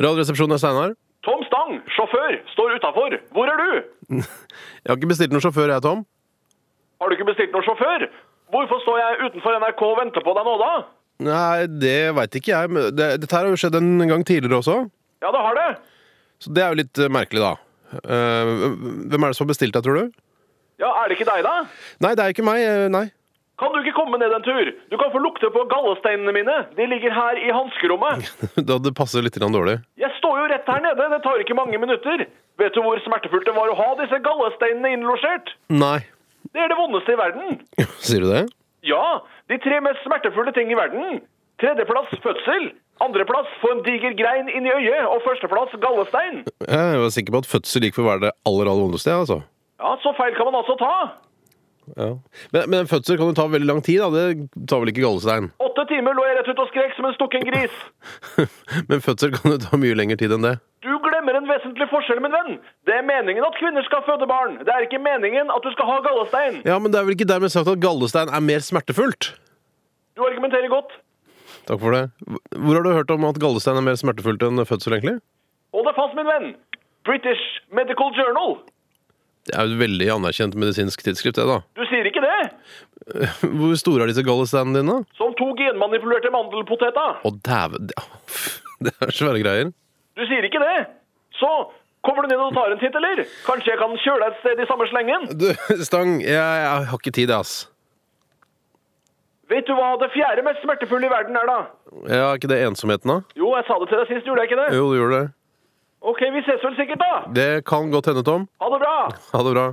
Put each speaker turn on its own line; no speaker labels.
Radioresepsjonen er Steinar.
Tom Stang, sjåfør, står utafor. Hvor er du?
Jeg har ikke bestilt noen sjåfør, jeg, Tom.
Har du ikke bestilt noen sjåfør? Hvorfor står jeg utenfor NRK og venter på deg nå, da?
Nei, det veit ikke jeg. men Det, dette her har jo skjedd en gang tidligere også,
Ja, det har det.
så det er jo litt eh, merkelig, da. Eh, hvem er det som har bestilt deg, tror du?
Ja, Er det ikke deg, da?
Nei, det er ikke meg. eh, Nei.
Kan du ikke komme ned en tur? Du kan få lukte på gallesteinene mine. De ligger her i hanskerommet.
Da det passer litt grann dårlig.
Jeg står jo rett her nede. Det tar ikke mange minutter. Vet du hvor smertefullt det var å ha disse gallesteinene innlosjert?
Nei.
Det er det vondeste i verden.
Sier du det?
Ja, de tre mest smertefulle ting i verden. Tredjeplass fødsel. Andreplass få en diger grein inn i øyet. Og førsteplass gallestein.
Jeg var sikker på at fødsel gikk for å være det aller aller vondeste. jeg, altså.
Ja, så feil kan man altså ta.
Ja. Men, men en fødsel kan jo ta veldig lang tid. da. Det tar vel ikke gallestein.
Åtte timer lå jeg rett ut og skrek som en stukken gris.
Men fødsel kan jo ta mye lengre tid enn det.
Du glemmer en vesentlig forskjell, min venn. Det er meningen at kvinner skal føde barn. Det er ikke meningen at du skal ha gallestein.
Ja, Men det er vel ikke dermed sagt at gallestein er mer smertefullt?
Du argumenterer godt.
Takk for det. Hvor har du hørt om at gallestein er mer smertefullt enn fødsel, egentlig?
Hold deg fast, min venn. British Medical Journal.
Det er jo et veldig anerkjent medisinsk tidsskrift, det, da.
Du sier ikke det?
Hvor store er disse gallesteinene dine?
Som to genmanipulerte mandelpoteta.
Å, dæven Det er svære greier.
Du sier ikke det? Så kommer du ned og tar en titt, eller? Kanskje jeg kan kjøre deg et sted i samme slengen?
Du, Stang, jeg, jeg har ikke tid, jeg, ass.
Vet du hva det fjerde mest smertefulle i verden er, da?
Ja, Er ikke det ensomheten, da?
Jo, jeg sa det til deg sist, gjorde jeg ikke det?
Jo, du gjør det.
OK, vi ses vel sikkert, da.
Det kan godt hende, Tom.
Ha det bra.
Ha det bra.